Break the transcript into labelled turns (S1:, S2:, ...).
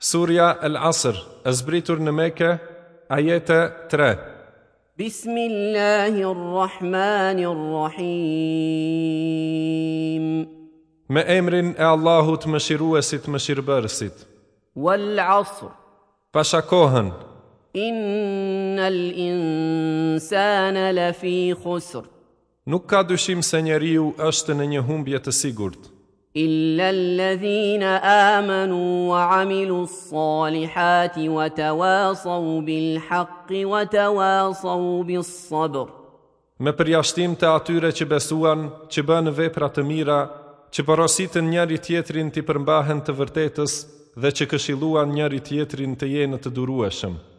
S1: Surja El Asr, e zbritur në Mekë, ajete 3.
S2: بسم الله الرحمن الرحيم
S1: Me emrin e Allahut më shiruesit më shirëbërësit.
S2: والعصر
S1: Pasha kohën,
S2: إن الإنسان لفي خسر
S1: nuk ka dyshim se njeriu është në një humbje të sigurt,
S2: إلا الذين آمنوا وعملوا الصالحات وتواصوا بالحق وتواصوا بالصبر
S1: me përjashtim të atyre që besuan, që bënë vepra të mira, që porositën njëri tjetrin të përmbahen të vërtetës dhe që këshilluan njëri tjetrin të jenë të durueshëm.